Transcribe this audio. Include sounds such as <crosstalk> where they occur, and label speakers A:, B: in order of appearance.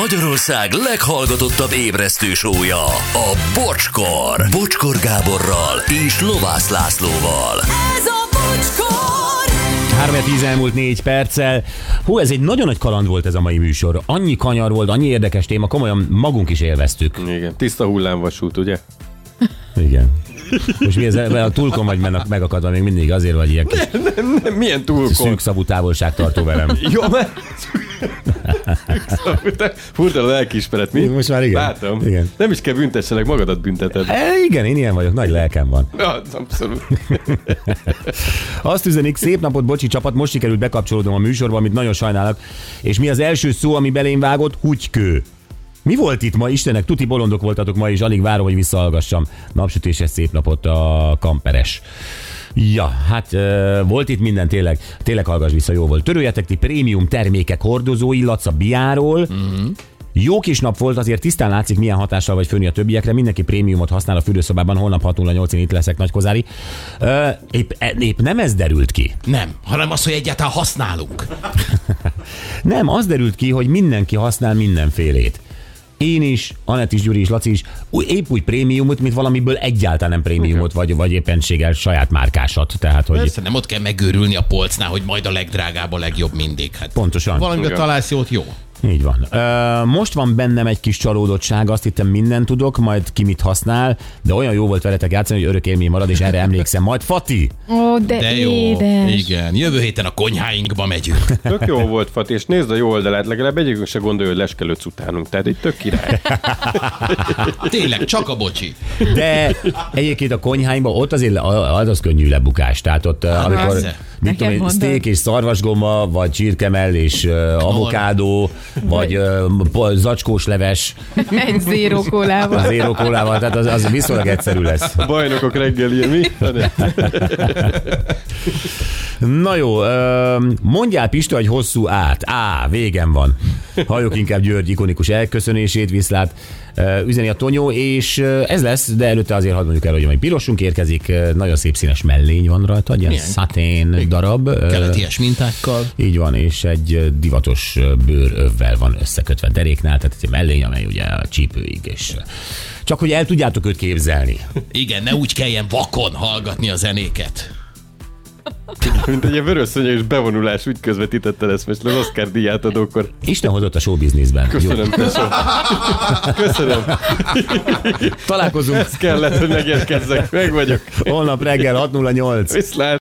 A: Magyarország leghallgatottabb ébresztő sója, a Bocskor. Bocskor Gáborral és Lovász Lászlóval.
B: Ez a bocskor!
C: 3 10 elmúlt 4 perccel. Hú, ez egy nagyon nagy kaland volt ez a mai műsor. Annyi kanyar volt, annyi érdekes téma, komolyan magunk is élveztük.
D: Igen, tiszta hullámvasút, ugye? <laughs>
C: Igen. Most mi ez, mert a tulkon vagy men- megakadva még mindig, azért vagy ilyen kis
D: Nem, milyen túlkon.
C: szűk szavú távolságtartó velem.
D: Jó, mert... <laughs> Furta a lelkiismeret, mi?
C: Most már igen.
D: Látom.
C: Igen.
D: Nem is kell büntessenek, magadat
C: <laughs>
D: bünteted.
C: E, igen, én ilyen vagyok, nagy lelkem van.
D: Az abszolút.
C: Azt üzenik, szép napot, bocsi csapat, most sikerült bekapcsolódnom a műsorba, amit nagyon sajnálok. És mi az első szó, ami belém vágott? Hugykő. Mi volt itt ma, Istenek? Tuti bolondok voltatok ma, és alig várom, hogy visszahallgassam. Napsütéses szép napot a kamperes. Ja, hát ö, volt itt minden, tényleg, tényleg hallgass vissza, jó volt. Töröljetek ti prémium termékek hordozói, Laca Biáról. Jó kis nap volt, azért tisztán látszik, milyen hatással vagy fönni a többiekre. Mindenki prémiumot használ a fürdőszobában, holnap 6 0 8 itt leszek Nagykozári. Ö, épp, e, épp nem ez derült ki.
E: Nem, hanem az, hogy egyáltalán használunk.
C: Nem, az derült ki, hogy mindenki használ mindenfélét. Én is, Anett is, Gyuri is, Laci is, úgy, épp úgy prémiumot, mint valamiből egyáltalán nem prémiumot, vagy, vagy éppenséggel saját márkásat. Tehát, hogy
E: Persze nem ott kell megőrülni a polcnál, hogy majd a legdrágább a legjobb mindig. Hát
C: pontosan.
E: valamire találsz jót, jó.
C: Így van. Ö, most van bennem egy kis csalódottság, azt hittem mindent tudok, majd ki mit használ, de olyan jó volt veletek játszani, hogy örök élmény marad, és erre emlékszem. Majd Fati!
F: Ó, de,
E: De jó.
F: édes.
E: Igen. Jövő héten a konyháinkba megyünk.
D: Tök jó volt, Fati, és nézd a jó oldalát, legalább egyikünk se gondolja, hogy leskelődsz utánunk. Tehát egy
C: <laughs>
D: tök király.
E: Tényleg, csak a bocsi.
C: De egyébként a konyháimban ott azért le- az, az könnyű lebukás. Tehát ott, Há, amikor
E: persze.
C: mit tudom,
F: Nekem
C: én,
F: mondod.
C: steak és szarvasgomba, vagy csirkemell és uh, avokádó, vagy uh, po- zacskós leves
F: Egy zéró
C: az
F: kólával.
C: érókólával, tehát az, az viszonylag egyszerű lesz.
D: A bajnokok reggeli, mi?
C: Na jó, öm, mondjál Pista, hogy hosszú át. Á, végem van. Halljuk inkább György ikonikus elköszönését, viszlát ö, üzeni a Tonyó, és ö, ez lesz, de előtte azért hadd mondjuk el, hogy majd pirosunk érkezik, ö, nagyon szép színes mellény van rajta, egy ilyen
E: Milyen?
C: szatén darab. ö,
E: Kellett ilyes mintákkal.
C: Így van, és egy ö, divatos ö, bőrövvel van összekötve deréknál, tehát egy ilyen mellény, amely ugye a csípőig, és ö, csak hogy el tudjátok őt képzelni.
E: Igen, ne úgy kelljen vakon hallgatni a zenéket.
D: Mint egy ilyen vörös és bevonulás, úgy közvetítetted ezt, most az Oscar díját adókor.
C: Isten hozott a showbizniszben. Jó, <laughs>
D: Köszönöm, köszönöm. Köszönöm.
C: találkozunk
D: <laughs> Ez kellett, hogy megérkezzek. Meg vagyok.
C: holnap reggel 6.08.
D: Viszlát.